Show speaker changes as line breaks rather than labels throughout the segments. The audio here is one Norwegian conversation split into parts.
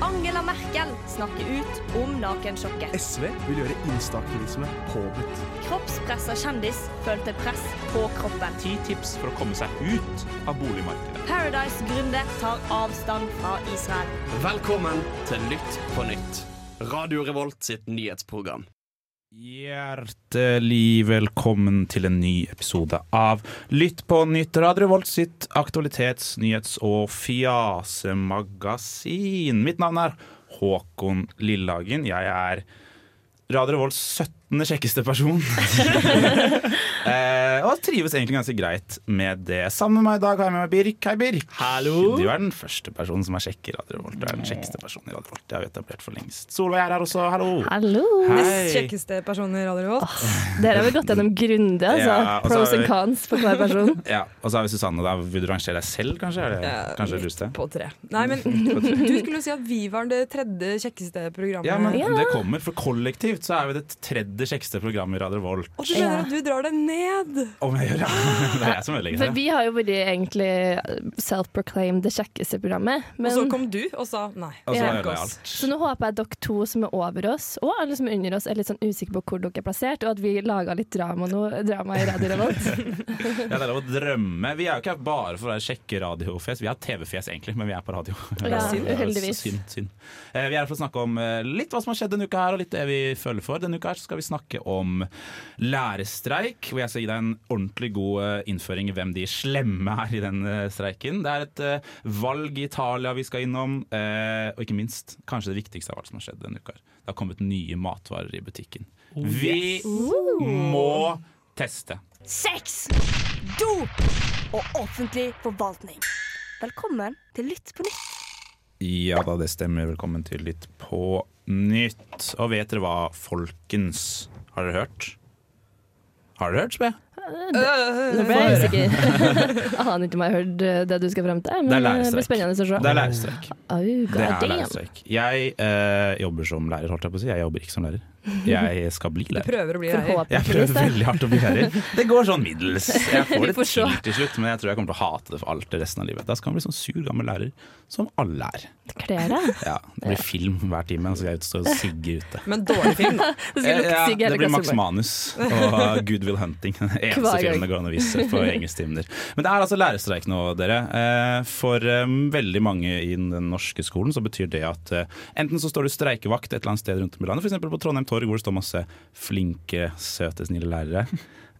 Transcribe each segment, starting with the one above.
Angela Merkel snakker ut om nakensjokket.
SV vil gjøre instaaktivisme påbudt.
Kroppspressa kjendis følte press på kroppen.
Ti tips for å komme seg ut av boligmarkedet.
Paradise-gründer tar avstand fra Israel.
Velkommen til Lytt på nytt. Radio Revolt sitt nyhetsprogram.
Hjertelig velkommen til en ny episode av Lytt på nytt, Radio Volt sitt aktualitets-, nyhets- og fjasemagasin. Mitt navn er Håkon Lillehagen. Jeg er Radio Volts 17. kjekkeste person. eh, og trives egentlig ganske greit med det. Sammen med meg i dag har jeg med meg Birk. Hei, Birk.
Hallo.
Du er den første personen som er kjekk i Radio Volt. Du er den kjekkeste personen i Radio Volt. Det har vi etablert for lengst. Solveig er her også. Hallo.
Hallo!
Hei.
Kjekkeste personer i Radio Revolt.
Dere har vel gått gjennom grundig, altså.
Ja, og så
Pros
har vi-
and cons for hver person.
Ja, Og så har vi Susanne. da Vil du rangere deg selv, kanskje? Er det,
Ja,
Ah, kanskje det
litt
lureste?
På tre. Nei, men du skulle jo si at vi var det tredje kjekkeste programmet.
Ja, men
Ja.
det kommer. For kollektivt så er vi det tredje kjekkeste programmet i Radio Volt.
Og du
Ja.
mener at du drar det ned?
Om jeg gjør det! Det er jeg som ødelegger
For
det.
vi har jo vært egentlig eh, self-proclaimed det kjekkeste programmet.
Og så
Men,
kom du og sa nei.
Og så
Ja.
ødelegger jeg alt.
så nå håper jeg dere to som er over oss, og alle som er under oss, er litt sånn usikre på hvor dere er plassert, og at vi laga litt drama nå, drama i Radio Revolt.
Ja, det er lov å drømme. Vi er jo ikke her bare for å sjekke radiofjes. Vi har TV-fjes, egentlig, men vi er på radio.
Ja,
Synd.
uheldigvis.
Synd, synd. Eh, Vi er her for å snakke om eh, litt hva som har skjedd denne uka her, og litt det vi føler for. Denne uka her så skal vi snakke om lærerstreik, hvor jeg skal gi deg en ordentlig god eh, innføring i hvem de slemme er i den eh, streiken. Det er et eh, valg i Italia vi skal innom, eh, og ikke minst kanskje det viktigste av alt som har skjedd denne uka her. Det har kommet nye matvarer i butikken. Vi må teste.
Sex, dop og offentlig forvaltning. Velkommen til Lytt på nytt.
Ja da, det stemmer. Velkommen til Lytt på nytt. Og vet dere hva, folkens? Har dere hørt? Har dere hørt, spør jeg?
Nå ble jeg usikker. Aner ikke om jeg har hørt eh, det du skal frem til,
Det er
men eh, det blir
lærerstreik.
spennende å se.
Det er lærerstreik.
Au,
Det er
goddamn.
lærerstreik. Jeg eh, jobber som lærer, holdt jeg på å si. Jeg jobber ikke som lærer. Jeg skal bli
Du
lærer.
prøver å bli her.
Jeg
Forhåpentligvis.
prøver
da.
veldig hardt å bli lærer. Det går sånn middels. Jeg får
Vi
det
får se.
til til slutt, men jeg tror jeg kommer til å hate det for alt det resten av livet. Da skal man bli sånn sur gammel lærer som alle er.
Kler deg.
Ja, Det blir film hver time, og så skal jeg ut og stå og sigge ute.
Men dårlig film, da.
Det skal lukte
Eh, Ja,
sigg i hele
det blir Max
klasserommet.
Manus og Good Will Hunting. Den eneste
Hver gang.
filmen det går an å vise på engelsktimer. Men det er altså lærerstreik nå, dere. Eh, For eh, veldig mange i den norske skolen så betyr det at eh, enten så står du streikevakt et eller annet sted rundt om i landet, f.eks. på Trondheim Torg, hvor det står masse flinke, søte, snille lærere.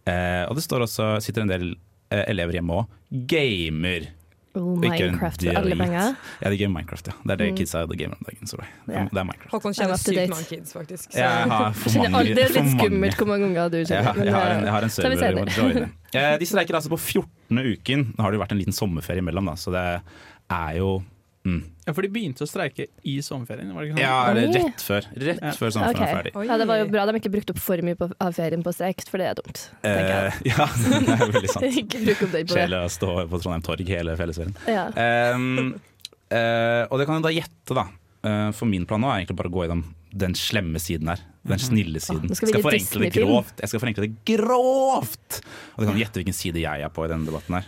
Eh, Og det står også, sitter en del eh, elever hjemme òg, gamer.
Oh,
Og ikke en
Minecraft for alle
drit.
penger.
Ja, de gamer Minecraft, ja. Det er det kidsa de gamer om dagen. Sorry. Det
Mm. Ja.
er- det er Minecraft.
Håkon
I'm
kjenner
up to
sykt
date.
mange kids, faktisk. Så
Jeg har
Jeg
for
skjønner
mange.
aldri- Det er
for
litt
mange.
skummelt hvor mange ganger du
Jeg,
kjenner. men,
jeg, har en,
eh,
jeg har en
tar vi
server
senere.
å joine. Eh, De streiker altså på 14. uken. Nå har det jo vært en liten sommerferie imellom, da, så det er jo mm.
Ja, for de begynte å streike i sommerferien, var det ikke sant?
Ja, eller
Oi.
rett før. Rett
Ja.
før sommerferien
Ah, Ok.
er ferdig.
Oi.
Ja, det var jo bra de ikke brukte opp for mye på, av ferien på streik, for det er dumt. tenker
Eh,
jeg.
ja, det er veldig sant.
ikke bruk opp den på det.
Kjedelig å stå på Trondheim Torg hele fellesferien.
Ja.
Ehm, eh, og det kan jeg da gjette, da. Eh, for min plan nå er egentlig bare å gå gjennom den slemme siden her. Den snille siden.
Mhm. nå skal vi
skal
gi
forenkle det
Disney-film.
grovt. Jeg skal forenkle det grovt! Og du kan gjette hvilken side jeg er på i denne debatten her.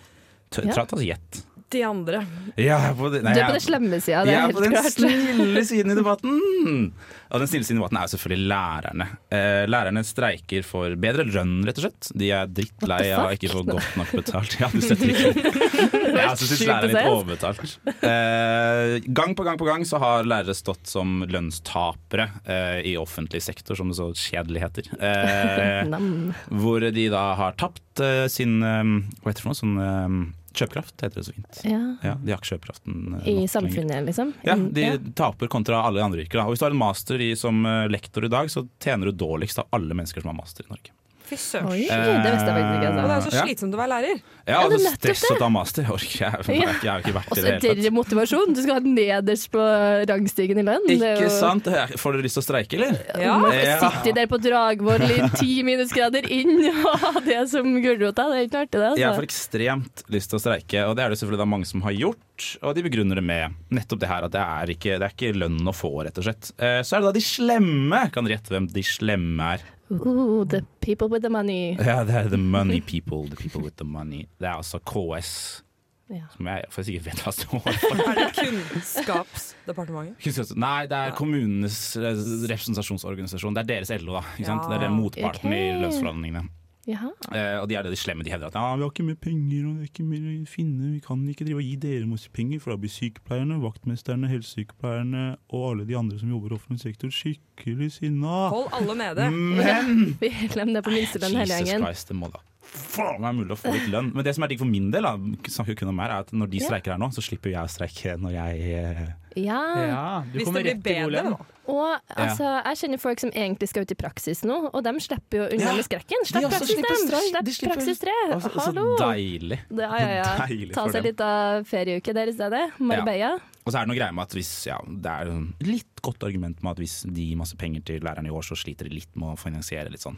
Tø-
Ja.
Tra, ta, gjett.
De andre.
Ja, jeg er på, det- nei,
du er på
jeg-
den slemme sida, det
jeg
er
er på den
helt klart.
snille siden i debatten! Og den snille siden i debatten er jo selvfølgelig lærerne. Eh, lærerne streiker for bedre lønn, rett og slett. De er drittlei av å ikke få godt nok betalt. Ja, du støtter ikke jeg altså, synes
Sjukt
lærere er litt
å
overbetalt. Eh, gang på gang på gang så har lærere stått som lønnstapere eh, i offentlig sektor, som det så kjedelig heter. Eh,
Nam.
hvor de da har tapt eh, sin eh, Hva heter det for noe? Sånn eh, kjøpekraft, heter det så fint.
Ja.
Ja, de har ikke kjøpekraften. eh,
I
nok lenger.
samfunnet, liksom.
Ja,
Mm,
de taper kontra alle andre yrker. da. Og hvis du har en master i, som eh, lektor i dag, så tjener du dårligst av alle mennesker som har master i Norge.
Fy søren.
Oi,
Eh,
det visste jeg faktisk ikke.
Og det
Altså.
er jo så
Ja.
slitsomt å være lærer.
Ja,
Ja, det er
altså
nettopp
stress
det.
å ta master jeg orker jeg. Jeg har ikke- jeg har ikke vært i
Og så
det hele tatt.
dere motivasjon! Du skal ha nederst på rangstigen i lønn. Det er
Ikke
jo-
sant? Får dere lyst til å streike, eller?
Ja.
Man
Ja.
sitter der på Dragvoll i ti minusgrader inn og ha det som gulrota. Det er ikke artig, det.
Jeg får
Altså.
ekstremt lyst til å streike, og det er det selvfølgelig da mange som har gjort. Og de begrunner det med nettopp det her at det er ikke, det er ikke lønn å få, rett og slett. Eh, Så er det da de slemme. Kan dere gjette hvem de slemme er?
Ooh, the
Eh,
people with the money.
Ja, det er the money people. The people with the money. Det er altså KS.
Ja.
Som jeg for jeg sikkert vet hva står for.
Er det Kunnskapsdepartementet?
Kunnskaps- Nei, det er kommunenes eh, representasjonsorganisasjon. Det er deres LO, da. Ikke sant? Det er den motparten i
Ok.
lønnsforhandlingene.
Jaha.
Eh, og de er det de slemme. De hevder at ja, vi har ikke mer penger, og det er ikke mer å finne, vi kan ikke drive og gi dere masse penger, for da blir sykepleierne, vaktmesterne, helsesykepleierne og alle de andre som jobber i offentlig sektor skikkelig sinna.
Hold alle nede.
Mm. Men
Vi glem det på minstelønn hele
Jesus
gjengen.
Christ, det må da faen meg mulig å få litt lønn. Men det som er digg for min del, da, snakker jo kun om her, er at når de
Ja.
streiker her nå, så slipper jeg å streike når jeg eh,
Ja.
Ja, du
Hvis
kommer
det
rett
blir
til god
bedre,
lønn.
da.
Og altså, jeg kjenner folk som egentlig skal ut i praksis nå, og de slipper jo unna
Ja.
med skrekken. Slipp
også
praksis
slipper
dem!
streik. De
Slipp
slipper-
praksis tre!
altså,
Hallo!
Så deilig.
Ja, ja, ja.
Deilig
Ta
for
seg
dem.
litt av ferieuke der i stedet. Marbella.
Og så er det noe greier med at hvis, ja, det er en litt godt argument med at hvis de gir masse penger til lærerne i år, så sliter de litt med å finansiere litt sånn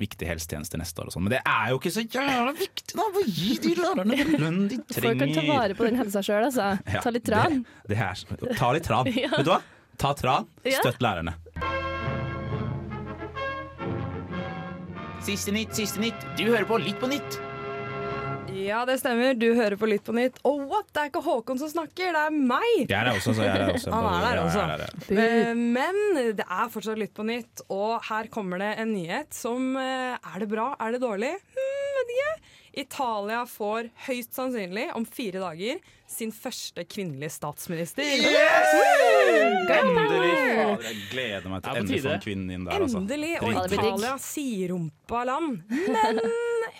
viktige helsetjenester neste år og sånn. Men det er jo ikke så jævla viktig, da! Bare gi de lærerne den lønnen de
Folk kan ta
trenger!
vare på den helsa sjøl, altså.
Ja,
Ta litt tran.
Det, det er, så- ta litt tran.
Ja.
Vet du hva? Ta tran,
Ja.
støtt lærerne. Siste nytt, siste nytt. Du hører på Litt på nytt.
Ja, det stemmer. Du hører på Litt på nytt. Og what, det er ikke Håkon som snakker, det er meg!
Jeg er her også, så jeg er her også.
Han er der
Ja, jeg
også.
her, ja.
Eh, Men det er fortsatt Lytt på nytt, og her kommer det en nyhet som eh, Er det bra? Er det dårlig? Hmm, vet ikke. Italia får høyst sannsynlig om fire dager sin første kvinnelige statsminister.
Endelig! Fader, Jeg gleder meg
Det er på
til endelig å få
tide.
en kvinne inn der, altså.
Endelig! Og
Ja, det blir digg.
Italia siderumpa land. Men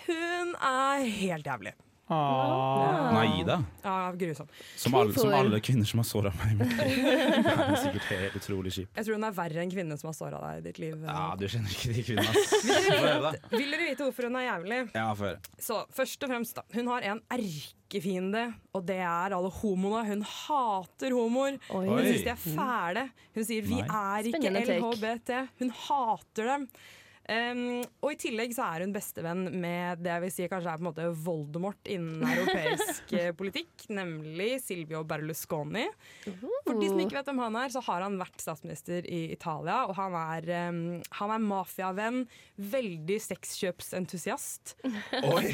hun er helt jævlig.
Ah.
Naida.
Ja, grusom.
Som alle, som
Hvorfor?
alle kvinner som har såra meg. i mitt liv. Det er sikkert helt utrolig kjip.
Jeg tror hun er verre enn kvinnen som har såra deg i ditt liv.
Ja, du kjenner ikke de kvinnene, ass. Få høre, da.
Vil dere vite hvorfor hun er jævlig?
Ja, få høre.
Så først og fremst, da. Hun har en erkefiende, og det er alle homoene. Hun hater homoer.
Oi. Mm.
Hun syns de er fæle. Hun sier 'vi
Nei.
er ikke
Spennende take.
LHBT'. Hun hater dem. Um, og i tillegg så er hun bestevenn med det jeg vil si kanskje er på en måte Voldemort innen europeisk eh, politikk, nemlig Silvio Berlusconi.
Uhuh.
For de som ikke vet hvem han er, så har han vært statsminister i Italia. Og han er, um, han er mafiavenn, veldig sexkjøpsentusiast.
Oi,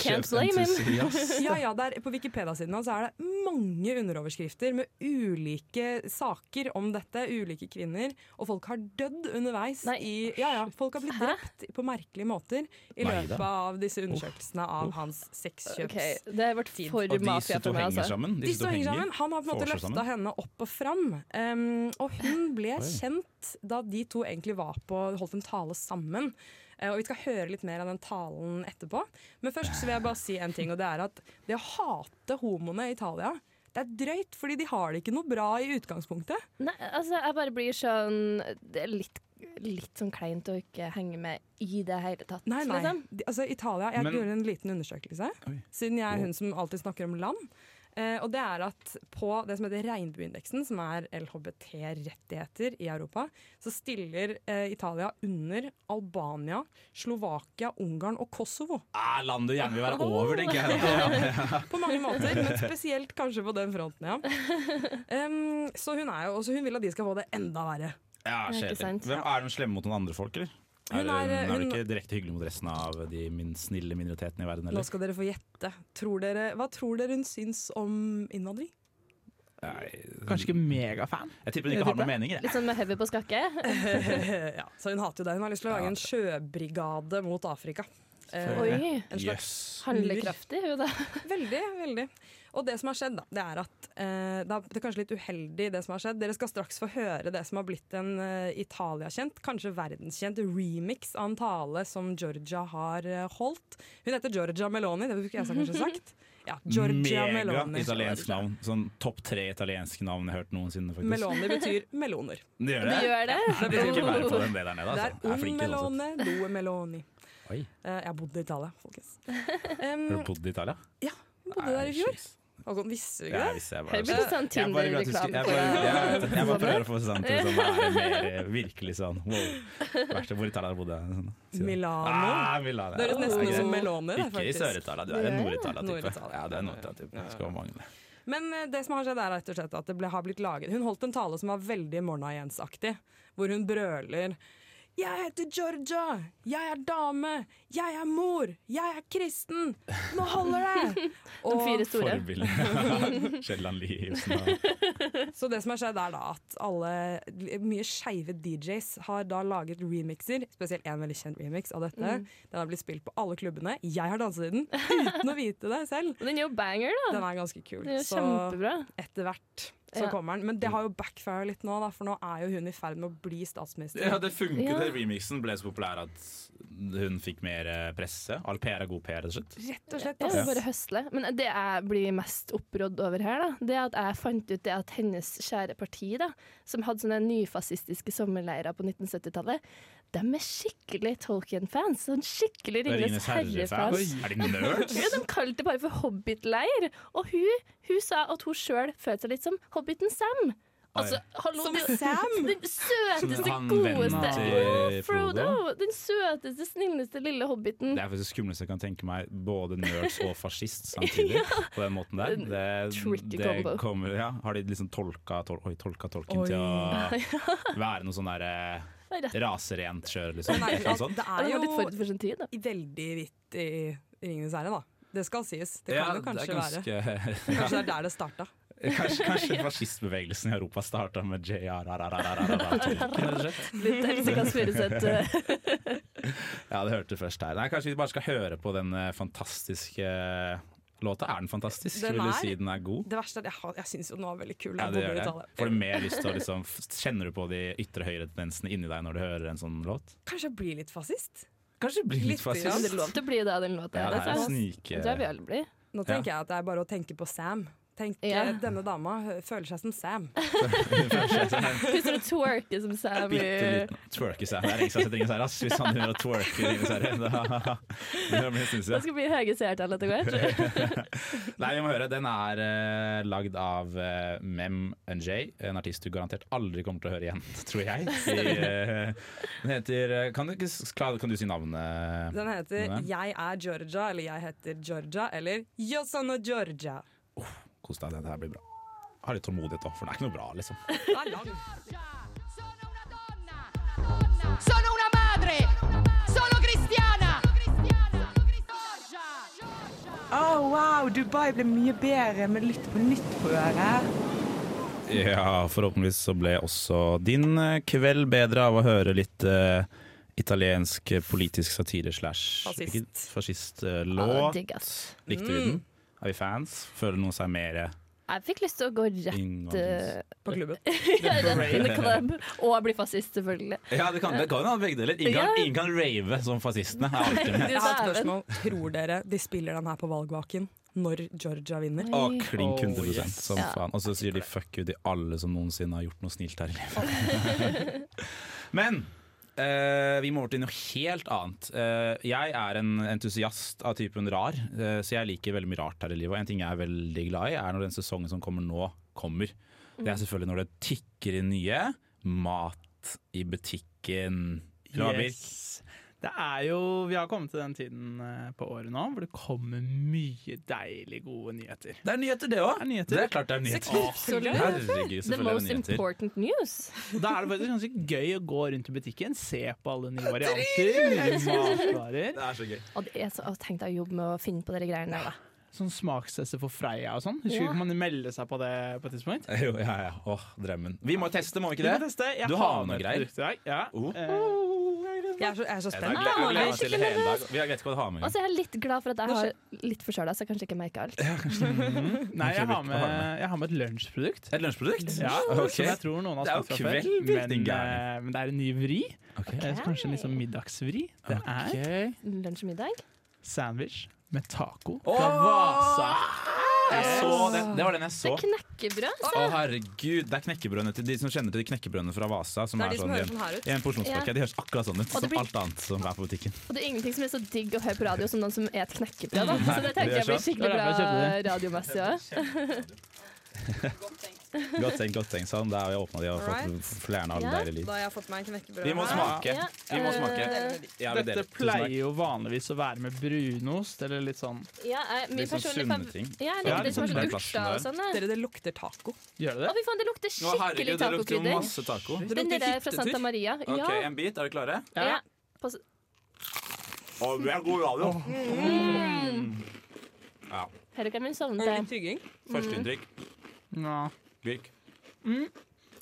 Can't blame him.
sexkjøpsentusiast.
Ja, ja, der, på Wikipedia-siden hans er det mange underoverskrifter med ulike saker om dette, ulike kvinner, og folk har dødd underveis.
Nei.
I, ja, ja, folk har blitt drept på merkelige måter i
Nei da.
løpet av disse undersøkelsene av hans sexkjøps...
Ok, det har vært for
Og disse
mafia
to
for meg,
henger
altså.
sammen?
De står henger sammen. Han har på en måte
Får seg
løfta
sammen.
henne opp og fram. Um, og hun ble kjent da de to egentlig var på holdt en tale sammen. Eh, og vi skal høre litt mer av den talen etterpå. Men først så vil jeg bare si en ting, og det er at det å hate homoene i Italia, det er drøyt, fordi de har det ikke noe bra i utgangspunktet.
Nei, altså, jeg bare blir sånn Det er litt, litt sånn kleint å ikke henge med i det hele tatt,
Nei, nei.
liksom.
De, altså, Italia, jeg
Men-
gjorde en liten undersøkelse,
Oi.
siden jeg er hun som alltid snakker om land. Eh, og det er at på det som heter Regnbueindeksen, som er LHBT-rettigheter i Europa, så stiller eh, Italia under Albania, Slovakia, Ungarn og Kosovo.
Ah, land du gjerne vil være over, tenker jeg.
På mange måter, men spesielt kanskje på den fronten, ja. Em, så hun, er jo, også, hun vil at de skal få det enda verre.
Ja,
ikke
kjedelig.
sant.
Hvem Er de slemme mot noen andre folk, eller?
Hun
Er,
er, eh,
hun er vel
hun-
ikke direkte hyggelig mot resten av de min snille minoritetene i verden,
Nå
eller?
skal dere få gjette. Tror dere, hva tror dere hun syns om innvandring?
Nei,
Kanskje ikke megafan.
jeg tipper de ikke har noen meninger. jeg.
Litt sånn med hodet på skakke.
Eh, ja, så hun hater jo det. Hun har lyst til å lage en sjøbrigade mot Afrika. Eh,
Oi.
en slags
Jøss.
Handlekraftig, hun da.
Veldig, veldig. Og det som har skjedd, da, det er at eh, det er det er kanskje litt uheldig, det som har skjedd. Dere skal straks få høre det som har blitt en eh, Italia-kjent, kanskje verdenskjent remix av en tale som Georgia har eh, holdt. Hun heter Georgia Meloni, det fikk jeg så kanskje sagt. Ja, Georgia
Mega
Meloni.
italiensk navn. Sånn topp tre italienske navn jeg har hørt noensinne, faktisk.
Meloni betyr meloner.
Det gjør
Du
det?
gjør det.
Jeg vil ikke være på den det der nede.
Det
Altså.
er
Jeg er
un
flink i det, sånn sett.
melone, due meloni.
Oi.
Eh, jeg bodde i Italia, folkens. Em,
altså. Har du bodd i Italia?
jeg bodde der i fjor.
Jeez.
Håkon, visste du
Ja,
ikke det?
hvis jeg
Det blir
bare
litt
jeg
sånn
bare glad at du skulle- jeg
Tinder-reklame.
bare- jeg vet- jeg bare prøver å få det sånn til å være mer virkelig sånn wow. Verste hvor i Italia bodde jeg? Sånn, sier jeg.
Milano.
Ah, Milano.
Det høres nesten
Ja,
ut som
greit.
meloner. det,
Ikke i
faktisk.
Sør-Italia, du er en Nord-Italia-type.
Nord-Italia.
Ja, det er Nord-Italia-type. Skal mangle.
Men eh, det som har skjedd er rett og slett at det ble, har blitt laget Hun holdt en tale som var veldig Morna Jens-aktig, hvor hun brøler Jeg heter Georgia. Jeg er dame. Jeg er mor. Jeg er kristen. Nå holder det!
De fire store.
Forbilde. Kielland Liersen og sånn.
Så det som har skjedd er da at alle mye skeive DJs har da laget remixer, spesielt en veldig kjent remix av dette.
Mm.
Den har blitt spilt på alle klubbene. Jeg har danset i den uten å vite det selv.
Men den er jo banger, da.
Den er ganske kul.
Den er jo
Så
kjempebra.
etter hvert så
Ja.
kommer den. Men det har jo backfire litt nå, da, for nå er jo hun i ferd med å bli statsminister.
Ja, det funket.
Ja.
det Remixen ble så populær at hun fikk mer eh, presse. All PR er god PR, rett og slett.
Rett og slett.
Ja,
ass.
bare høsle. Men det jeg blir mest opprådd over her, da, det er at jeg fant ut det at hennes kjære parti, da, som hadde sånne nyfascistiske sommerleirer på 1970-tallet, de er skikkelig Tolkien-fans. Sånn skikkelig Ringenes herre-fans.
Er de nerds?
Ja, de kalte det bare for Hobbit-leir. Og hun, hun sa at hun sjøl følte seg litt som Hobbiten Sam. Altså, hallo,
Som
det-
Sam?
Den søteste,
Han
godeste
vennen til
Ja, Frodo!
Frodo.
Den søteste, snilleste lille hobbiten.
Det er faktisk det skumleste jeg kan tenke meg. Både nerds og fascist samtidig. På den måten der.
En
Det,
tricky
det
combo.
kommer, ja. Har de liksom tolka, tol, oi, tolka tolken til å være noe sånn der eh,
Rett
raserent kjør, liksom? Et
Men er
eller
det,
annet sånt?
det
Ja,
er
det var litt
jo
forut for sin tid, da.
veldig hvitt i Ringenes herre, da. Det skal sies. Det
Ja,
kan jo
det
kanskje
er
være.
ganske,
Kanskje det er der det starta.
Kanskje, kanskje fascistbevegelsen i Europa starta med JRRRRR.
Litt Else Kåss Furuseth. eh,
Ja, det hørte du først her. Nei, kanskje vi bare skal høre på den eh, fantastiske låta. Er den fantastisk?
Den
Vil du
er-
si den er god?
Det verste er at jeg, har- jeg syns jo den var veldig kul.
Ja, det gjør det. Får du
det.
mer lyst til å liksom f- Kjenner du på de ytre høyre tendensene inni deg når du hører en sånn låt?
Kanskje jeg blir litt fascist?
Kanskje det blir litt
Litt grann.
Men
fascist?
det er lov til å bli det av den låta.
Ja, det
det
er
tror
jo
jeg.
snike...
Det tror jeg vi alle blir.
Nå tenker jeg at det er bare å tenke på Sam. Tenk,
Ja.
eh, Denne dama hø- føler seg som Sam.
Hvis du twerker som Sam i
Bitte liten twerke seg. Det er ingen som setter ingen seg rass hvis han begynner å twerke. Ingen seg, da, da blir det
Det
synsig.
skal bli høye seertall etter hvert.
Nei, vi må høre. Den er eh, lagd av eh, Mem NJ, en artist du garantert aldri kommer til å høre igjen, tror jeg. I, eh, den heter eh, kan du, ikke s- Klara, kan du si navnet?
Den heter
Hvem er den?
'Jeg er Georgia', eller 'Jeg heter Georgia', eller 'Yo sono Georgia'.
Kos deg, det her blir bra. Ha litt tålmodighet, da, for den er ikke noe bra, liksom.
Den er lang.
Sono una donna. Sono una madre. Sono cristiana.
Oh, wow, Dubai ble mye bedre med Lytt på nytt på øret.
Ja, forhåpentligvis så ble også din eh, kveld bedre av å høre litt eh, italiensk eh, politisk satire slash
Fascist.
Å,
fascistlåt.
digg, ass.
Likte vi den? Er vi fans? Føler noen seg mer
Jeg fikk lyst til å gå rett
innvandrings...
eh,
På klubben.
rett in the club. Og bli fascist, selvfølgelig.
Ja, det kan, det kan jo ha begge deler. Ingen,
Ja.
ingen kan rave som fascistene. er alltid med.
Jeg har et
dæven.
spørsmål. Tror dere de spiller den her på valgvaken når Georgia vinner?
Å, klink 100 som
Ja.
faen. Og så sier de fuck you til alle som noensinne har gjort noe snilt her i livet. Men eh, vi må over til noe helt annet. Eh, jeg er en entusiast av typen rar, eh, så jeg liker veldig mye rart her i livet. Og en ting jeg er veldig glad i, er når den sesongen som kommer nå, kommer. Det
Mm.
er selvfølgelig når det tikker inn nye. Mat i butikken. Raber.
Yes. Det er jo, Vi har kommet til den tiden eh, på året nå hvor det kommer mye deilig gode nyheter.
Det er nyheter, det
Det
òg!
er nyheter.
Det er klart det er nyheter.
Absolutt.
Herregud,
The
selvfølgelig er
most
det nyheter.
important news.
Og Da er det faktisk ganske gøy å gå rundt i butikken, se på alle nye varianter. Nye matvarer.
Det er så gøy.
Og det er så, å, tenk deg å jobbe med å finne på de greiene der, da.
Sånn smakstester for Freia og sånn. Husker
Ja.
du man melde seg på det på et tidspunkt?
Jo, ja, ja. Åh, drømmen. Vi må teste, må vi
Vi
ikke
må
det?
teste. Jeg
Du har med noe
et
greier.
produkt i dag. Ja.
Oh.
Eh,
Jeg er så, jeg er så
Jeg
Ah,
gleder- jeg gleder
spent.
meg
skikkelig
til hele dag. Vi vet ikke hva du har med.
Og så er jeg litt glad for at jeg har litt forkjøla, så jeg kanskje ikke merker alt.
nei, jeg har, med,
Hva har du med?
jeg har med et lunsjprodukt.
Et lunsjprodukt?
Ja,
Mm,
Ok.
som jeg tror noen har
Det er jo
smakt fra før.
kveld,
Men,
Birgit
eh,
Gærne.
men det er en ny vri.
Ok.
Eh, så Kanskje en liksom middagsvri. Det er
Lunsj og middag.
sandwich med taco
Åh!
fra Vasa.
Jeg så den. Det var den jeg
Ah. Det
så.
er knekkebrød.
Å, herregud. Det er knekkebrødene til de som kjenner til de knekkebrødene fra Vasa. Som
Det er
er
de som høres
sånn
sånn her ut.
i en porsjonspakke.
Ja.
De høres akkurat sånn ut
Og det
som
blir-
alt annet som er på butikken.
Og det er ingenting som er så digg å høre på radio som noen som et knekkebrød. Da. Så det
det er
tenker jeg blir
sant.
Det
skikkelig
var derfor jeg
bra
kjøpte
radiomessig òg.
Godt tenkt, godt tenkt. Sånn, da har vi åpna de og fått
Alright.
flere av
Ja.
det deilige liv.
Da har jeg fått meg en knekkebrød.
Vi må
her.
smake.
Ja,
Vi må
eh,
smake. Jævlig
Dette
deilig. Tusen takk.
pleier jo vanligvis å være med brunost, eller litt sånn
Ja, jeg, min
Litt sånn
personlige
sunne
favor-
ting.
Ja,
Ja,
jeg liker det
litt
som
sånn
er sånn
den plassen
urter og
der.
sånn. jeg.
Dere, det lukter taco.
Gjør det
Å,
det?
fy faen, det
Å,
lukter
herregud,
skikkelig
det lukter jo
tacokrydder.
masse taco.
Det
Den
lukter
der er fra
hyttetur.
Santa Maria.
OK,
Ja.
en bit. Er dere klare?
ja.
Å, vi er gode radio.
Her kan min
Er det
sovne.
litt hygging?
Mm.
Førsteinntrykk.
Nå.
Virk.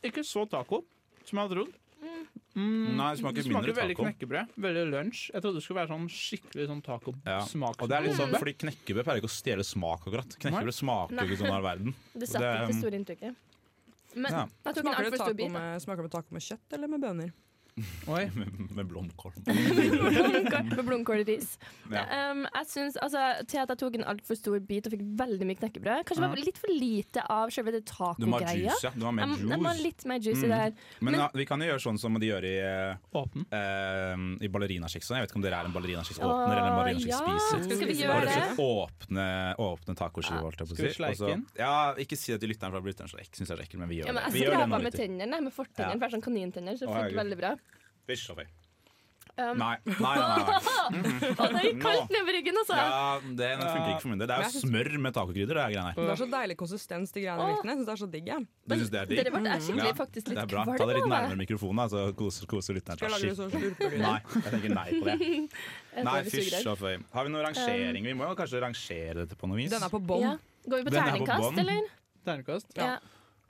Ikke så taco som jeg hadde trodd.
Mm.
Nei, det
Det
smaker
smaker
mindre
veldig
taco.
knekkebrød. Veldig lunsj. Jeg trodde det skulle være sånn skikkelig sånn
Ja.
tacosmak.
Og det er litt sånn, fordi Knekkebrød pleier ikke å stjele smak, akkurat. Knekkebrød smaker jo ikke sånn her i verden.
Det satt ikke det
um,
store inntrykket. Men
ja.
jeg tok en
Smaker det,
altfor stor
taco
bit. da.
med, smaker det taco med kjøtt eller med bønner?
Mm. Oi.
Med blomkål.
Blomkål- Med blomkål og ris.
Ja.
Um, jeg synes, altså, til at jeg tok en altfor stor bit og fikk veldig mye knekkebrød. Kanskje det var litt for lite av selve det
Du må ha
tacogreia.
juice, ja. Du må ha mer
Jeg må- jeg må ha
juice.
litt mer juice i
Mm.
det her.
Men
Men-
ja, vi kan jo gjøre sånn som de gjør i, eh,
Åpen.
eh, i ballerinaskiks. Jeg vet ikke om dere er en
Åh,
ballerinaskiksåpner eller en ballerinaskikkspiser.
Skal vi
Spise
gjøre
Bare
det?
så åpne, åpne tacoskiver, holdt jeg på
Skal
å
vi
si.
sleike
Og så-
inn?
Ja, ikke si det til lytteren, for da blir lytteren så ekkel. Synes jeg er ekkel, men vi gjør
Ja, men altså,
det. Vi
jeg
gjør det
skrapa
nå,
med
lytter.
tennene, med fortennene,
Ja.
for det er sånn kanintenner. Så
Å,
det
herregud.
veldig bra.
Fysj og fy.
Um,
Nei, nei, nei. nei.
Å, det gikk
Nå.
kaldt nedover ryggen, altså!
Ja, det funker ikke for min del. Det er jo smør med tacokrydder, det er greia her.
Det er så deilig konsistens til greiene
Åh.
virkene. Jeg synes det er så digg. jeg.
Du synes det er digg?
Dere ble jeg skikkelig
Mm, Ja,
faktisk
Det
litt
er bra. Ta det litt
kvalm av
nærmere mikrofonen, da, så koser, koser lytteren
Skal jeg lage det så
seg.
slurpelig?
Nei, jeg tenker nei på det.
Jeg
Nei,
får
fysj
sugerør.
og føy. Har vi noen rangering? Vi må jo kanskje rangere dette på noe vis.
Den er på bånn.
Ja. Går vi på
Den er på
terningkast,
bånn.
eller?
Ternekast.
Ja.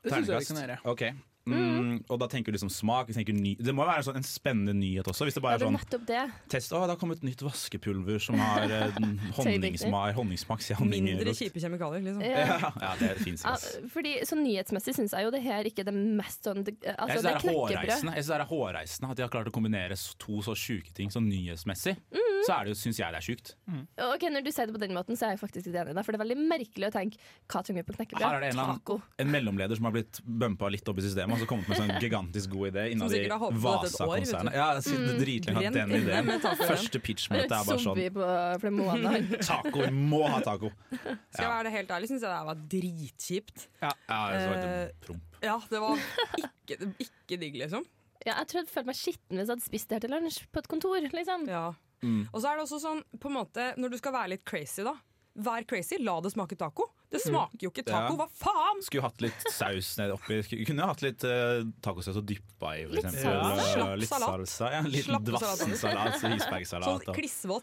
Det syns jeg vi kan gjøre.
Ok. Mm, og da tenker du liksom smak. Vi tenker ny det må jo være sånn en spennende nyhet også. Hvis det
Det
bare er
er
sånn
nettopp det.
test Å, det har kommet nytt vaskepulver som har eh, honningsmak Honningsmak, sier honning.
Mindre kjipe kjemikalier, liksom.
Ja.
Ja, ja, det fins.
Ja,
Jeg
fordi, så nyhetsmessig syns jeg jo det her ikke er det mest sånn det- Altså,
syns
det
det
er
er
knekkebrød.
hårreisende Jeg synes det er hårreisende at de har klart å kombinere s- to så sjuke ting sånn nyhetsmessig. Så er det jo, syns jeg det er sjukt.
Ok, Når du sier det på den måten, så er jeg faktisk litt enig i deg. For det er veldig merkelig å tenke hva trenger vi på
Her er det en
knekkebrød?
eller annen-
Taco.
En mellomleder som har blitt bumpa litt opp i systemet, og så kommet med en sånn gigantisk god idé
Som
innad i
sikkert har håpet på dette et år, vet du. Mm.
Vasa-konsernet. Ja, det er dritlenge at
Brent
den
inne
ideen
med tacoen.
Første pitch-møte er bare sånn
Zombie på for det måned her.
Taco, vi må ha taco!
Skal jeg være det helt ærlig, syns jeg det her var dritkjipt.
Ja, det var
Eh,
et promp.
Ja, det var ikke, ikke digg, liksom.
Ja, jeg tror jeg hadde følt meg skitten hvis jeg hadde spist det her til lunsj på et kontor. liksom.
Ja.
Mm.
Og så er det også sånn, på en måte, når du skal være litt crazy, da. Vær crazy, la det smake taco. Det smaker jo ikke taco,
Mm. Ja.
hva faen!
Skulle hatt litt saus ned oppi. Skulle- Kunne hatt litt uh, tacosaus og dyppa i, for
Litt
eksempel.
salat.
Ja,
Slapp
Litt
salat.
salsa. Ja, en liten
Slapp salat.
dvassensalat og
Sånn
isbergsalat. Og,
klissvåt
og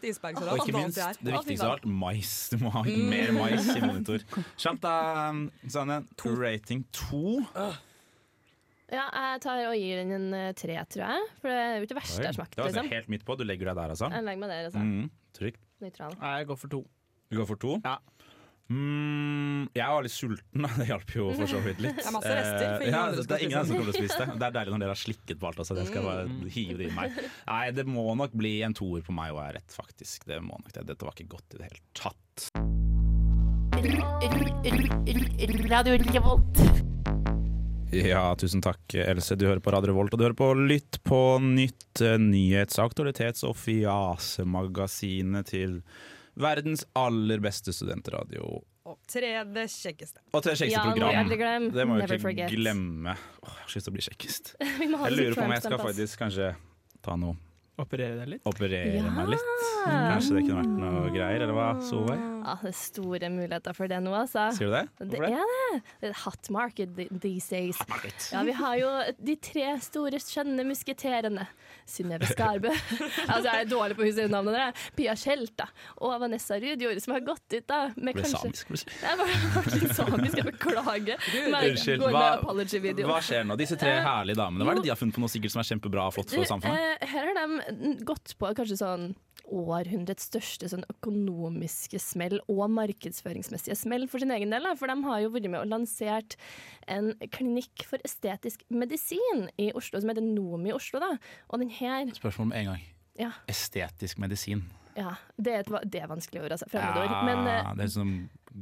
ikke
isbergsalat. hva annet
minst,
jeg Altså, er.
det
Å, fy
viktigste av alt, mais. Du må ha mer mais i monitor. Kjapt, da. Sanne. Rating to.
Ja, jeg tar og gir den en eh, tre, tror jeg. For det er jo ikke det verste jeg har
Oi,
smakt.
det var
liksom.
helt midt på. Du legger deg der, altså?
Jeg legger meg der, altså.
Mm, trygt.
Nøytral.
Nei, jeg går for to.
Du går for to?
Ja.
Mm, jeg var litt sulten, da. det hjalp jo for så vidt litt.
Det er masse rester,
Eh,
for ingen
ja,
andre
det,
skal
er ingen andre som kommer til å spise det. Det er deilig når dere har slikket på alt. Altså. Jeg skal bare
Mm.
hive det i meg. Nei, det må nok bli en toer på meg, og jeg er rett, faktisk. Det må nok det. Dette var ikke godt i det hele tatt. Ja, tusen takk, Else. Du hører på Radio Revolt, og du hører på Lytt på nytt, eh, nyhets-, aktualitets- og fjasemagasinet til verdens aller beste studentradio.
Og tredje kjekkeste.
Og til det kjekkeste
Ja, må vi
program.
aldri glemme.
Det må vi
Never
ikke
forget.
glemme. Åh, jeg har lyst til å bli kjekkest.
Vi må ha
Jeg
det som
lurer på om jeg skal
timestamp, ass.
faktisk kanskje ta noe
Operere deg litt.
Operere
Ja.
meg litt. Kanskje det kunne vært noe greier, eller hva, Solveig?
Ja, Ah, det er store muligheter for det nå, altså.
Sier du det?
Det
Hvorfor det?
er det. Det er et hot market th- these days. Ja, vi har jo de tre store skjønne musketerene. Synnøve Skarbø. altså, jeg er dårlig på husnavnene deres. Pia Tjelta og Vanessa Rudjord, som har gått ut, da. Med
Ble
kanskje
samisk, plutselig.
Jeg var faktisk samisk, jeg beklager. Men jeg
Unnskyld,
Går med
hva-
apology-video.
Hva skjer nå? Disse tre herlige damene, hva er det de har funnet på noe sikkert som er kjempebra og flott
Du,
for samfunnet?
eh, her har de gått på kanskje sånn århundrets største sånn økonomiske smell og markedsføringsmessige smell for sin egen del. da, For de har jo vært med og lansert en klinikk for estetisk medisin i Oslo, som heter NOMI i Oslo. da. Og den her
Spørsmål med en gang.
eh. Ja,
Estetisk medisin.
ja det, er et, va- det er vanskelig ord, altså. Fremmedord. Men
Ja,
eh,
det er sånn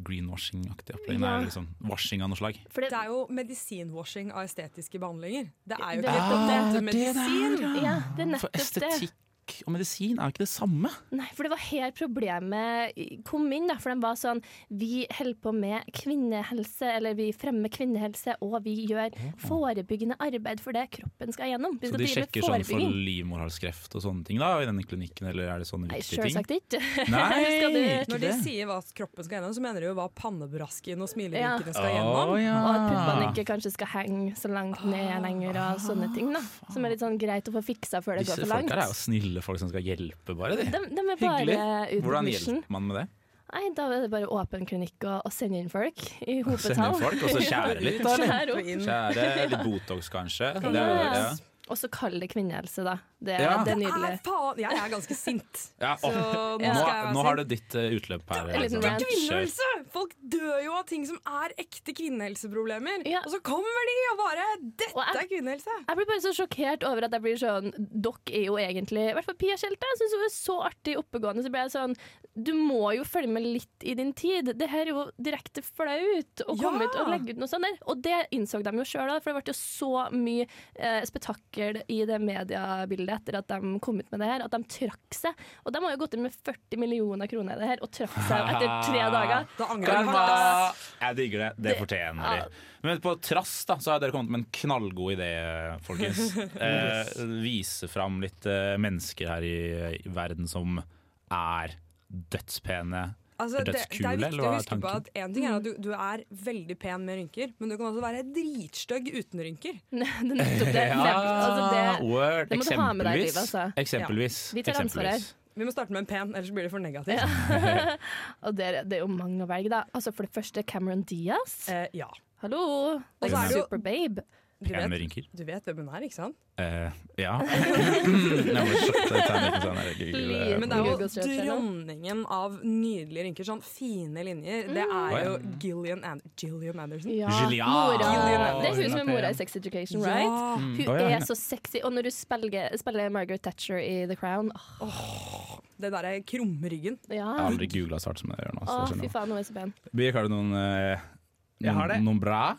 greenwashing-aktig opplegg.
Ja.
Nei, liksom washing av noe slag.
for det,
Det er jo medisinwashing av estetiske behandlinger. Det er jo
Det er
ikke
nettopp
det. Medisin.
ja, det er nettopp
For estetikk tobakk og medisin er jo ikke det samme.
Nei, for det var her problemet kom inn. Da, for de var sånn Vi holder på med kvinnehelse, eller vi fremmer kvinnehelse, og vi gjør forebyggende arbeid for det kroppen skal gjennom. Vi
Så de
skal drive med
sjekker sånn for
forebygging.
livmorhalskreft og sånne ting da, i denne klinikken, eller er det sånne
Nei,
viktige ting?
selvsagt ikke.
Nei,
Skal du-
ikke
Når de
det.
sier hva kroppen skal gjennom, så mener de jo hva pannebrasken
Ja.
og smilevinkene skal
Å,
gjennom.
ja.
Og at puppene ikke kanskje skal henge så langt ned lenger, og sånne ting. da Som er litt sånn greit å få fiksa før det
Ah. Disse
går for
folka
langt.
her er jo snille folk som skal hjelpe, bare de.
De, de er
Hyggelig.
bare uten
Hvordan
mission.
hjelper man med det?
Nei, da er det bare åpen klinikk og, og sende inn folk
Sende
i hopetall.
inn folk, og så skjære litt, da? eller?
Skjære opp.
Skjære, litt Botox kanskje? Det er, jo- ja.
Ja. Og så kall det kvinnehelse, da. Det,
Ja.
det er nydelig.
Er faen, jeg er ganske sint.
Ja,
Så
å,
nå
nå,
skal jeg være
nå
sint.
har du ditt eh, utløp her.
En liten
Alexander.
rant.
Kjør.
Kvinnehelse! Folk dør jo av ting som er ekte kvinnehelseproblemer.
Ja.
Og så kommer de og bare 'Dette
Og jeg-
er kvinnehelse'!
Jeg blir bare så sjokkert over at jeg blir sånn Dere er jo egentlig I hvert fall Pia Tjelte. Jeg syns hun er så artig oppegående. Så ble jeg sånn Du må jo følge med litt i din tid. Det her er jo direkte flaut å komme
Ja.
ut og legge ut noe sånt der. Og det innså de jo sjøl, for det ble jo så mye eh, spetakkel i det mediebildet etter at de kom ut med det her, at de trakk seg. Og de har jo gått inn med 40 millioner kroner i det her, og trakk seg etter tre dager.
Da angrer jeg
Karma!
hardt. ass.
Jeg digger det. Det fortjener de. Men på trass da, så har dere kommet med en knallgod idé, folkens. Eh, vise fram litt eh, mennesker her i, i verden som er dødspene.
Altså,
Er
det, det
dødskule,
er
eller
viktig å
hva er
huske på
tanken?
at en ting er at
Mm.
du, du er veldig pen med rynker, men du kan også være dritstygg uten rynker.
Det er nettopp det. Altså, det
word.
det må du ha med deg i
Eksempelvis.
livet, altså.
Eksempelvis.
Vi tar ansvar her.
Eksempelvis.
Vi må starte med en pen, ellers blir det for negativt.
og det, er- det er jo mange å velge, da. Altså, for det første Cameron Diaz.
Eh, ja.
Hallo!
Og
Og
så er det jo-
Superbabe.
Du,
Pen med
vet,
rynker.
du vet hvem hun er, ikke sant?
Eh, ja. Jeg ble sjokket. Jeg tar ikke sånn her.
Liten.
Men det er
Google
jo
search, eller?
dronningen av nydelige rynker. Sånn fine linjer. Det
Mm.
er jo Gillian, An Gillian Anderson.
Ja.
Gillian.
Mora.
Gillian.
Det er hun som er mora i Sex Education, right?
Ja.
Hun
Mm. Å, ja,
er
henne.
så sexy. Og når du spiller, spiller Margaret Thatcher i The Crown ah, åh,
Det derre krumryggen.
Jeg har
ja.
aldri googla så hardt som jeg gjør nå.
Å,
så jeg skjønner.
ah, fy faen, hun er så pen.
Birk, har du noen, eh,
Jeg har det.
noen, noen bra?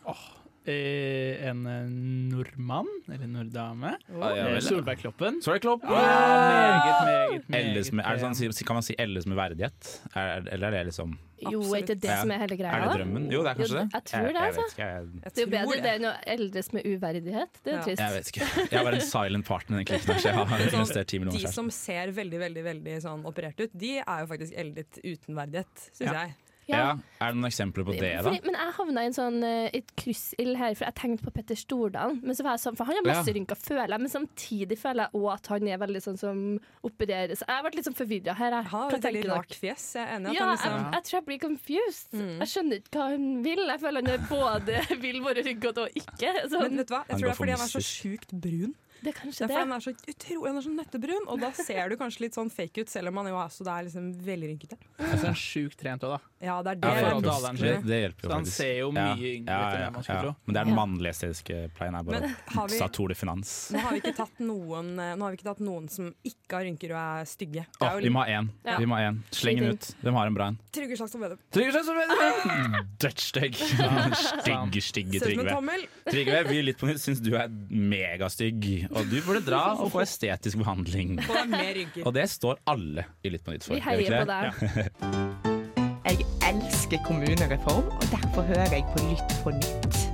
Eh, en eh, nordmann, eller norddame.
ja
Eh,
vel.
Solveig Kloppen.
Sorry, Klopp!
Meget, meget,
Elles
meget
med, er det
pen.
sånn, si- kan man si 'elles med verdighet'? Er, eller er det liksom
Jo, er ikke det
Ja.
som er hele
Er
greia?
det
da?
drømmen? Jo, det er kanskje
Jo,
det.
jeg tror det,
jeg,
altså.
vet ikke, jeg,
Det
Jeg
er jo
tror
bedre det enn å eldes med uverdighet. Det er
Ja.
trist.
jeg vet ikke. Jeg var en silent partner i den klikken her, så jeg har
Sånn
investert 10 millioner
De
selv.
som ser veldig veldig, veldig sånn operert ut, de er jo faktisk eldet uten verdighet, syns
Ja.
jeg.
Ja. Er det noen eksempler på det, da?
Fordi, men jeg havna i en sånn, eh, et kryssild her, for jeg tenkte på Petter Stordalen. Men så var jeg sånn, for han har
Ja.
masse rynker, føler jeg, men samtidig føler jeg òg at han er veldig sånn som opererer. Så jeg ble litt sånn forvirra her. Jeg,
Han har
Hva
et veldig
tenker dere?
rart fjes. Jeg er enig i at
Ja,
han
jeg,
liksom Mm.
jeg tror jeg blir confused. Jeg skjønner ikke hva hun vil. Jeg føler han er både vil være ryggot og ikke.
Men
Sånn,
vet du hva? Jeg
Han
tror det
går
er
for
fordi han er så
mystisk.
sjukt brun.
det er kanskje
Derfor
det.
han er så utro, han er så nøttebrun, og da ser du kanskje litt sånn fake ut, selv om han jo er så det er liksom velrynkete.
Og så er han sjukt trent òg, da.
Ja, det
Ja,
er det.
I forhold til
faktisk.
alderen
det,
sin.
det hjelper jo
Så han
faktisk.
ser jo mye yngre ut enn det man skulle tro.
Men det er den
Ja.
mannlige estetiske pleien er
Men
bare
har vi-
sa Tour de Finans.
nå har, vi ikke tatt noen, eh, nå har vi ikke tatt noen som ikke har rynker og er stygge. Det
Å,
er
vi
jo
må ha én.
Ja.
Vi må ha en. Sleng den
Sliten.
ut. Hvem har en bra en?
Trygve Slagsvold Vedum.
Trygve Slagsvold Vedum! Dødsstygg. Stygg, stygge
Ser ut som en
Trygve.
tommel.
Trygve, vi i Litt på nytt syns du er megastygg, og du burde dra og få estetisk behandling.
Og det er mer rynker.
Og det står alle i Litt på nytt for.
Vi
gjør
heier
ikke
på deg.
Jeg elsker kommunereform, og derfor hører jeg på Lytt på nytt.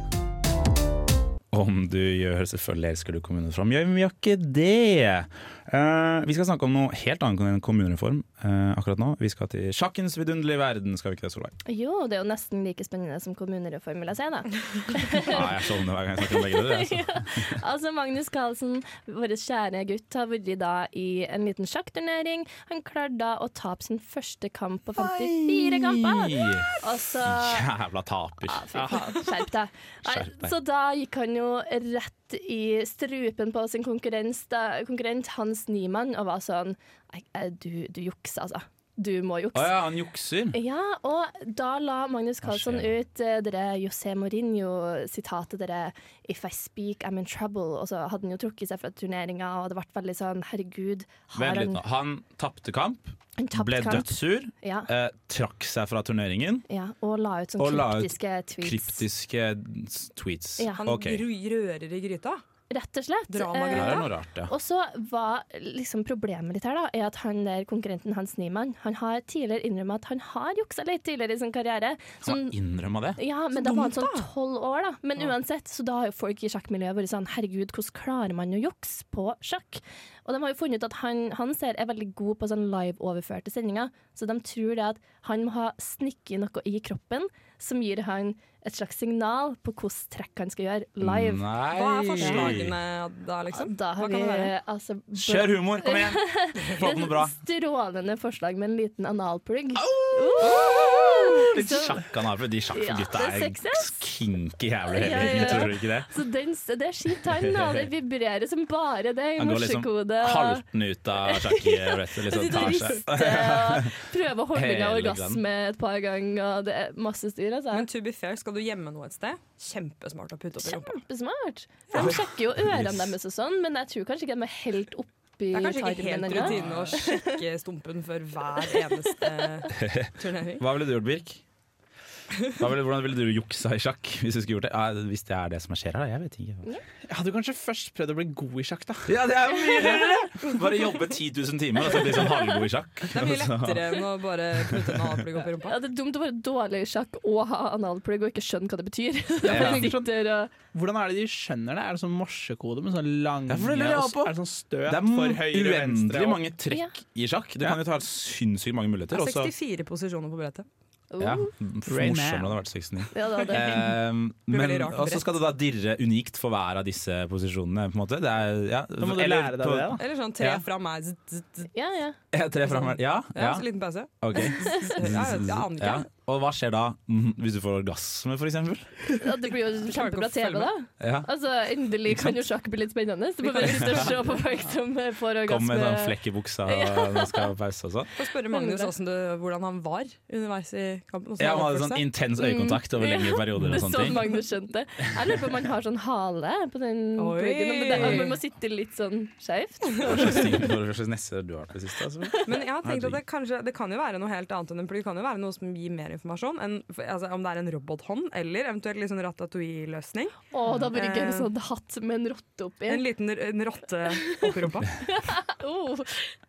Om du gjør selvfølgelig elsker du kommunen fram. Ja, men vi har ikke det! Eh, vi skal snakke om noe helt annet enn kommunereform eh, akkurat nå. Vi skal til sjakkens vidunderlige verden, skal vi ikke det, Solveig?
Jo, det er jo nesten like spennende som kommunereform, vil jeg si. da
Ja, Ah, jeg sovner hver gang jeg snakker om begge deler. Altså.
Altså Magnus Carlsen, vår kjære gutt, har vært da i en liten sjakkturnering. Han klarte da å tape sin første kamp på 54 kamper. Og så
Jævla taper.
ja, fy faen, skjerp deg. Nei,
Skjerp deg.
Så da gikk han jo rett i strupen på sin konkurrens, da, konkurrent Hans Niemann og var sånn «Nei, eh, Du, du jukser, altså. Du må
Å
jukse.
ja, han jukser.
Ja, og da la Magnus Carlsson
skjer?
ut eh, dere José Mourinho-sitatet dere If I speak, I'm in trouble. Og så hadde han jo trukket seg fra turneringa, og det ble veldig sånn herregud, har
Vent litt
han
nå. Han tapte kamp,
en tapt
ble
kamp?
dødssur,
Ja,
eh, trakk seg fra turneringen.
ja, og la ut sånne
Og la ut
kryptiske tweets.
Kryptiske tweets.
Ja.
Han
Ok.
ru- rører i gryta.
Rett og slett.
Drama,
Eh,
Det er jo noe rart, ja.
og så var liksom problemet litt her da, er at han der konkurrenten Hans Niemann han har tidligere innrømmet at han har juksa litt tidligere i sin karriere.
Han
Sånn-
må innrømme det.
ja, men da var han sånn tolv år, da. Men uansett, så da har jo folk i sjakkmiljøet vært sånn Herregud, hvordan klarer man å jukse på sjakk? Og de har jo funnet ut at han, han ser er veldig god på sånn live-overførte sendinger, så de tror det at han må ha snikket noe i kroppen som gir han et slags signal på hvilket trekk han skal gjøre live.
Nei.
Hva er forslagene da, liksom?
Da har
Hva kan det
vi
være?
altså bl-
Kjør humor, kom igjen! Få opp noe bra.
Strålende forslag med en liten analplugg.
Litt
Så-
sjakk han har, for de sjakkgutta
Ja, det er
er
sexy, ass.
kinky jævler
Ja,
hele
ja,
tiden,
ja.
tror du ikke det?
Så den, det er skitt han, da. Det vibrerer som bare det i
Han går liksom
morsekode. og-
haltende ut av sjakk-brettet. Liksom,
Sitter og
tar seg-
rister og prøver å holde unna
Hele
orgasme et par ganger. Og det er masse styr. Altså.
Men to be fair, skal du gjemme noe et sted? Kjempesmart å putte opp i rumpa.
Kjempesmart! For de sjekker jo ørene deres og sånn, men jeg tror kanskje ikke de er helt oppi
Det er kanskje ikke
tarmen
helt
ennå.
rutine å sjekke stumpen før hver eneste turnering.
Hva ville du gjort, Birk? Hva ville, hvordan ville du juksa i sjakk hvis du skulle gjort det? Ja, hvis det er det som skjer her, da. Jeg vet ikke.
Jeg hadde kanskje først prøvd å bli god i sjakk, da.
Ja, det er jo mye rarere! Bare jobbe 10 000 timer og så bli sånn halvgod i sjakk.
Det er mye lettere enn å bare putte en analplugg opp i rumpa.
Ja, det er dumt å være dårlig i sjakk og ha analplugg og ikke skjønne hva det betyr.
Ja.
De sitter og,
Hvordan er det de skønner det? Er det sånn morsekode med sånn lange
Ja, for det lurer jeg
og s-
på.
Er det sånn støt
Det er
for høyre og venstre?
uendelig
og-
mange trekk i sjakk. Du kan jo ta sinnssykt mange
Det
muligheter.
er
Også,
64 posisjoner på brettet.
oh,
ja,
ja.
morsommere om det hadde vært 69.
da, det.
Ehm, men,
veldig rart
og så
brett.
skal det da dirre unikt for hver av disse posisjonene. På en måte. Det er, ja,
Da må du
eller
lære deg
på-
det, da.
Eller sånn tre
Ja.
fra meg. zzz, zzz, zzz.
Ja, ja.
Ja, tre framover. Ja,
Ja,
ja,
så liten pause.
ok.
Ja, jeg jeg aner ikke.
Ja. Og hva skjer da Mhm, hvis du får orgasme, for eksempel?
Ja, Det blir jo
klarer ikke
kjempebra
å følge
TV, da.
Ja.
Altså, Endelig kan jo sjakk bli litt spennende. Så får vi sitte og se på folk som får
Kom med sånn
orgasme.
flekk i buksa og man skal ha pause og sånn.
Få spørre Magnus hvordan, det, hvordan han var underveis i kampen.
Ja,
hvordan han
man hadde
oppførte
sånn
seg.
intens øyekontakt over lengre perioder og
Det er
sånne
sånn
ting.
Magnus skjønte. Jeg lurer på om han har sånn hale på den
Oi.
pluggen. Men det, man må sitte litt sånn skjevt.
Hva slags ting- hva slags nesse du har til sist, altså?
Men jeg har tenkt at det, kanskje, det kan jo være noe helt annet enn en plugg. Det kan jo være noe som gir mer informasjon. Enn, for- altså, om det er en robothånd eller eventuelt litt sånn ratatouille-løsning.
Å, da blir det gøy med sånn hatt med en rotte oppi.
En liten r- en rotte oppi rumpa.
Oh,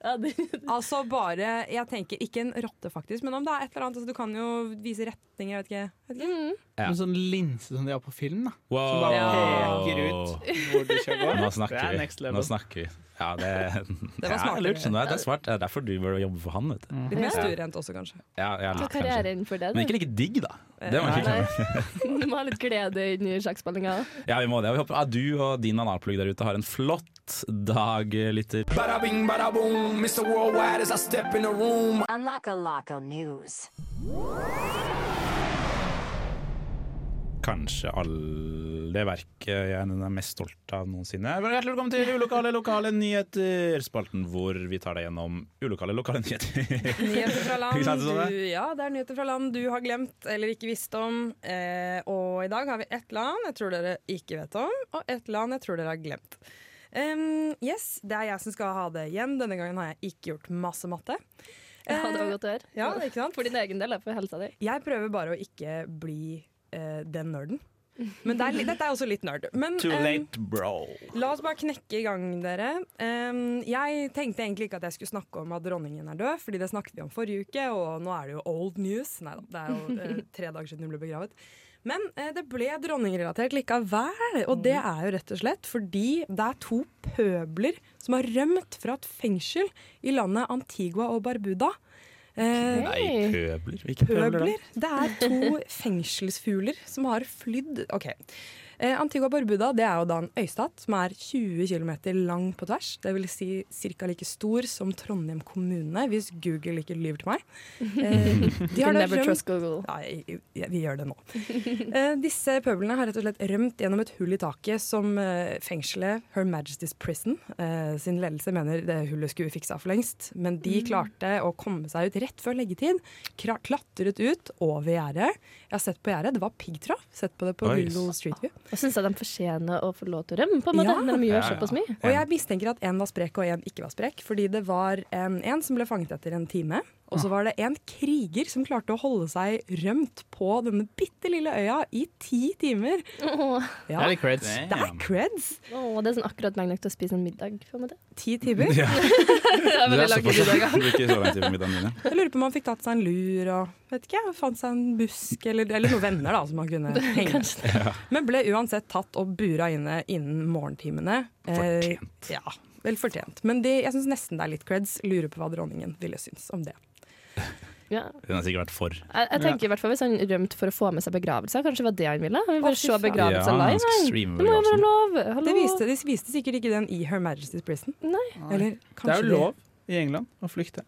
ja, det,
Altså bare, jeg tenker ikke en rotte faktisk, men om det er et eller annet. Altså, du kan jo vise retning, jeg vet ikke. Jeg vet ikke.
mm.
Ja.
En sånn linse som de har på film, da. Som bare peker
Wow.
ut hvor du skal gå.
Nå
det
snakker
er
vi.
next
Nå
level.
snakker vi. Ja, det,
Det var
Ja,
smart.
lurt. skjønner jeg. Det er smart. Det er derfor du bør jobbe for han, vet du.
Litt mer
Ja.
stuerent også, kanskje.
Ja, ja,
Ta
litt, kanskje.
karrieren for det.
Men
Du.
ikke like digg, da. Eh, Det må vi ikke
Nei.
glemme.
du må ha litt glede inn i sjakkspillinga.
Ja, vi må det. Vi håper at du og din analplugg der ute har en flott dag, lytter.
Bada-bing, bada-boom, Mr. Worldwide as I step in the room.
Kanskje alle verk jeg er mest stolt av noensinne. Hjertelig velkommen til Ulokale lokale nyheter, spalten hvor vi tar deg gjennom ulokale lokale nyheter.
Nyheter fra land
Ikke sant, Susanne?
du, ja, det er nyheter fra land du har glemt eller ikke visst om. Eh, og i dag har vi ett land jeg tror dere ikke vet om, og ett land jeg tror dere har glemt. Em, yes, Det er jeg som skal ha det igjen. Denne gangen har jeg ikke gjort masse matte.
Ja, det var
Eh,
godt å høre.
ja, ikke sant?
For din egen del, da, for helsa di.
Jeg prøver bare å ikke bli eh, den nerden. Men det er, li- dette er også litt nerd. Men,
Too
Um,
em,
late, bro.
La oss bare knekke i gang, dere. Em, jeg tenkte egentlig ikke at jeg skulle snakke om at dronningen er død, fordi det snakket vi om forrige uke, og nå er det jo old news. Nei da, det er jo eh, tre dager siden hun ble begravet. Men eh, det ble dronningrelatert likevel, og det er jo rett og slett fordi det er to pøbler som har rømt fra et fengsel i landet Antigua og Barbuda. Eh,
Nei,
Hey.
pøbler. Hvilke pøbler? da?
Pøbler. Det er to fengselsfugler som har flydd Ok. Eh, Antigua Barbuda det er jo da en øystat som er 20 km lang på tvers. Det vil si ca. like stor som Trondheim kommune, hvis Google ikke lyver til meg. Eh, de har da
Never
rømt
trust Google.
ja, jeg, jeg, vi gjør det nå. Eh, disse pøblene har rett og slett rømt gjennom et hull i taket som eh, fengselet Her Majesty's Prison eh, sin ledelse mener det hullet skulle vi fiksa for lengst. Men de klarte å komme seg ut rett før leggetid. Kra klatret ut over gjerdet. Jeg har sett på gjerdet, det var piggtrav. Sett på det på
Oi.
Google Street View.
Jeg syns de fortjener å få lov til å rømme, på en måte.
Ja.
Når de
Ja,
gjør
ja.
såpass mye.
Og jeg mistenker at én var sprek og én ikke var sprek, fordi det var en, en som ble fanget etter en time. Og så var det en kriger som klarte å holde seg rømt på denne bitte lille øya i ti timer.
Åh,
Det er
Ja,
litt creds.
det er creds!
åh, det er sånn akkurat lenge nok til å spise en middag. På en måte.
Ti timer.
Ja,
Det er
det
veldig
er
lang
såpass.
middag.
Det blir ikke så lang tid på middagen min. ja.
Jeg lurer på om han fikk tatt seg en lur og vet ikke, jeg, fant seg en busk eller, eller noen venner da, som han kunne henge med.
Kanskje.
Men ble uansett tatt og bura inne innen morgentimene.
Fortjent.
Eh, ja, vel fortjent. Men de, jeg syns nesten det er litt creds. Lurer på hva dronningen ville synes om det.
Ja.
Den har sikkert vært for.
Jeg, jeg tenker i hvert fall Hvis han rømte for å få med seg begravelser, kanskje det var det han ville? Han vil
Å,
bare
fy
se
faen.
begravelser
Ja, han
live.
skal
han.
streame
Det må jo være lov! Hallo.
Det viste, de viste sikkert ikke den i Her Majesty's Prison. Eller
Det
kanskje
er jo lov i England å flykte.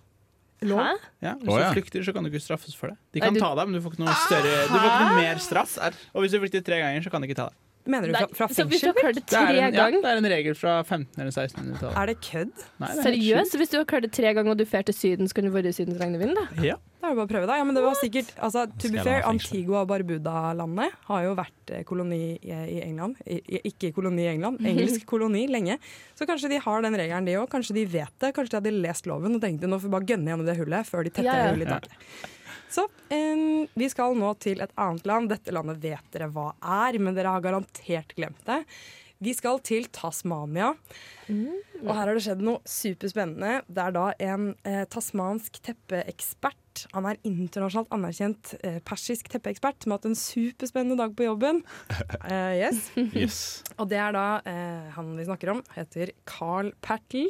lov.
Hæ?
Ja, hvis
Å, ja.
du flykter, så kan du ikke straffes for det. De
Nei,
kan
du-
ta deg, men du får ikke noe større Du får ikke noe mer straff. Og hvis du flykter tre ganger, så kan de ikke ta deg.
Mener du
Nei,
fra, fra
så hvis du
fengsel?
har klart det
Det er,
tre
en, ja,
ganger
det er en regel fra 1500- eller 1600-tallet.
Er det kødd?
Nei, det er helt
Seriøst? Hvis du har klart det tre ganger og du drar til Syden, så kan du være i Sydens regnevin? da?
sjukt. Ja.
Det er jo bare å prøve, da. Ja, men det var sikkert, altså, to
Skal
be
jeg
fair,
la meg fengsle?
Antigua og Barbuda-landet har jo vært eh, koloni i i England. I, i- ikke koloni i England, engelsk koloni lenge. Så kanskje de har den regelen, de òg. Kanskje de vet det. Kanskje de hadde lest loven og tenkte nå får vi bare gønne gjennom det hullet før de tetter
Ja, ja.
hullet i taket. Så eh, vi skal nå til et annet land. Dette landet vet dere hva er, men dere har garantert glemt det. Vi skal til Tasmania.
Mm.
Og her har det skjedd noe superspennende. Det er da en eh, tasmansk teppeekspert. Han er internasjonalt anerkjent eh, persisk teppeekspert som har hatt en superspennende dag på jobben. Eh, yes.
Yes.
Og det er da eh, han vi snakker om, heter Carl Pertel.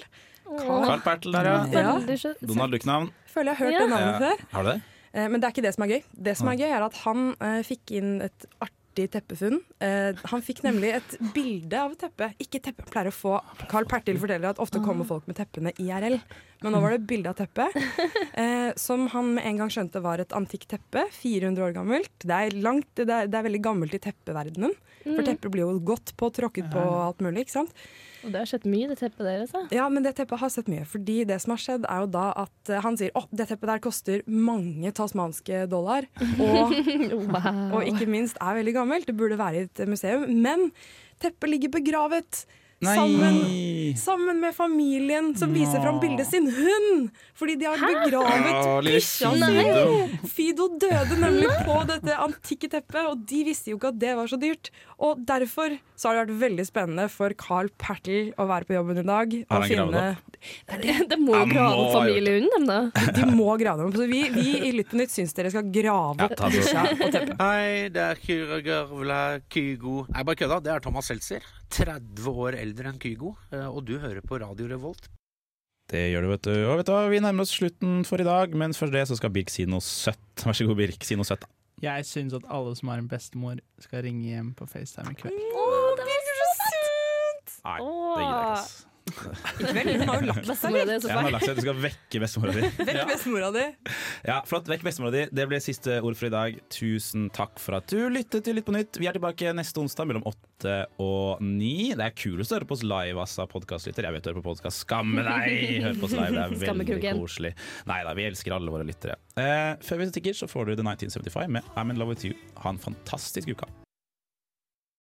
Åh,
Carl Pertel der, ja.
Ja.
veldig søt.
Donald Duck-navn.
Føler jeg har hørt
Ja.
det navnet før.
Har du det?
Eh, Men det er ikke det som er gøy. Det som er gøy, er at han eh, fikk inn et artig teppefunn. Eh, han fikk nemlig et bilde av et teppe. Ikke teppe, han pleier å få Carl Pertil forteller at ofte kommer folk med teppene IRL. Men nå var det et bilde av teppet, eh, som han med en gang skjønte var et antikt teppe. 400 år gammelt. Det er, langt, det er, det er veldig gammelt i teppeverdenen.
Mm.
For teppet blir jo gått på, tråkket på og alt mulig. ikke sant?
Og det har skjedd mye, det teppet der, altså.
Ja, men det teppet har sett mye. Fordi det som har skjedd, er jo da at eh, han sier at det teppet der koster mange tasmanske dollar. Og, og ikke minst er veldig gammelt. Det burde være i et museum. Men teppet ligger begravet. Sammen, sammen med familien som viser fram bildet sin hund! Fordi de har
Å,
begravet
lille
bikkja
Fido.
si. Fido døde nemlig på dette antikke teppet, og de visste jo ikke at det var så dyrt. Og derfor så har det vært veldig spennende for Carl Pertel å være på jobben i dag.
Har
Og
han gravd
finne
Det må jo
Han
grave
må ha
familiehunden dem, da.
De må grave dem. Så vi, vi i Lytt på nytt syns dere skal grave opp
ta det.
bikkja og teppet.
Hei, det er Kyra Garvla Kygo. Nei, bare kødda. Det er Thomas Seltzer. 30 år eldre enn Kygo. eh, Og du hører på Radio Revolt.
Det gjør du, vet du. Og vet du, hva, vi nærmer oss slutten for i dag, men før det så skal Birk si noe søtt. Vær så god, Birk. Si noe søtt.
Jeg syns at alle som har en bestemor, skal ringe hjem på FaceTime i kveld.
Nei, det gidder jeg ikke,
Åh,
ass.
Vel, hun har jo lagt seg
bestemora
litt.
di er så
Jeg har
feil.
lagt seg. Du skal vekke bestemora di.
Vel, bestemora di.
Ja, flott. Vekk bestemora di. Det ble siste ord for i dag. Tusen takk for at du lyttet til Litt på nytt. Vi er tilbake neste onsdag mellom åtte og ni. Det er kulest å høre på oss live, ass, av podkastlytter. Jeg vet du hører på podkast. Skamme deg! Hør på oss live, det er veldig
Skammekroken.
koselig. Nei da, vi elsker alle våre lyttere. Eh, før vi stikker, så får du The 1975 med I'm in love with you. Ha en fantastisk uke.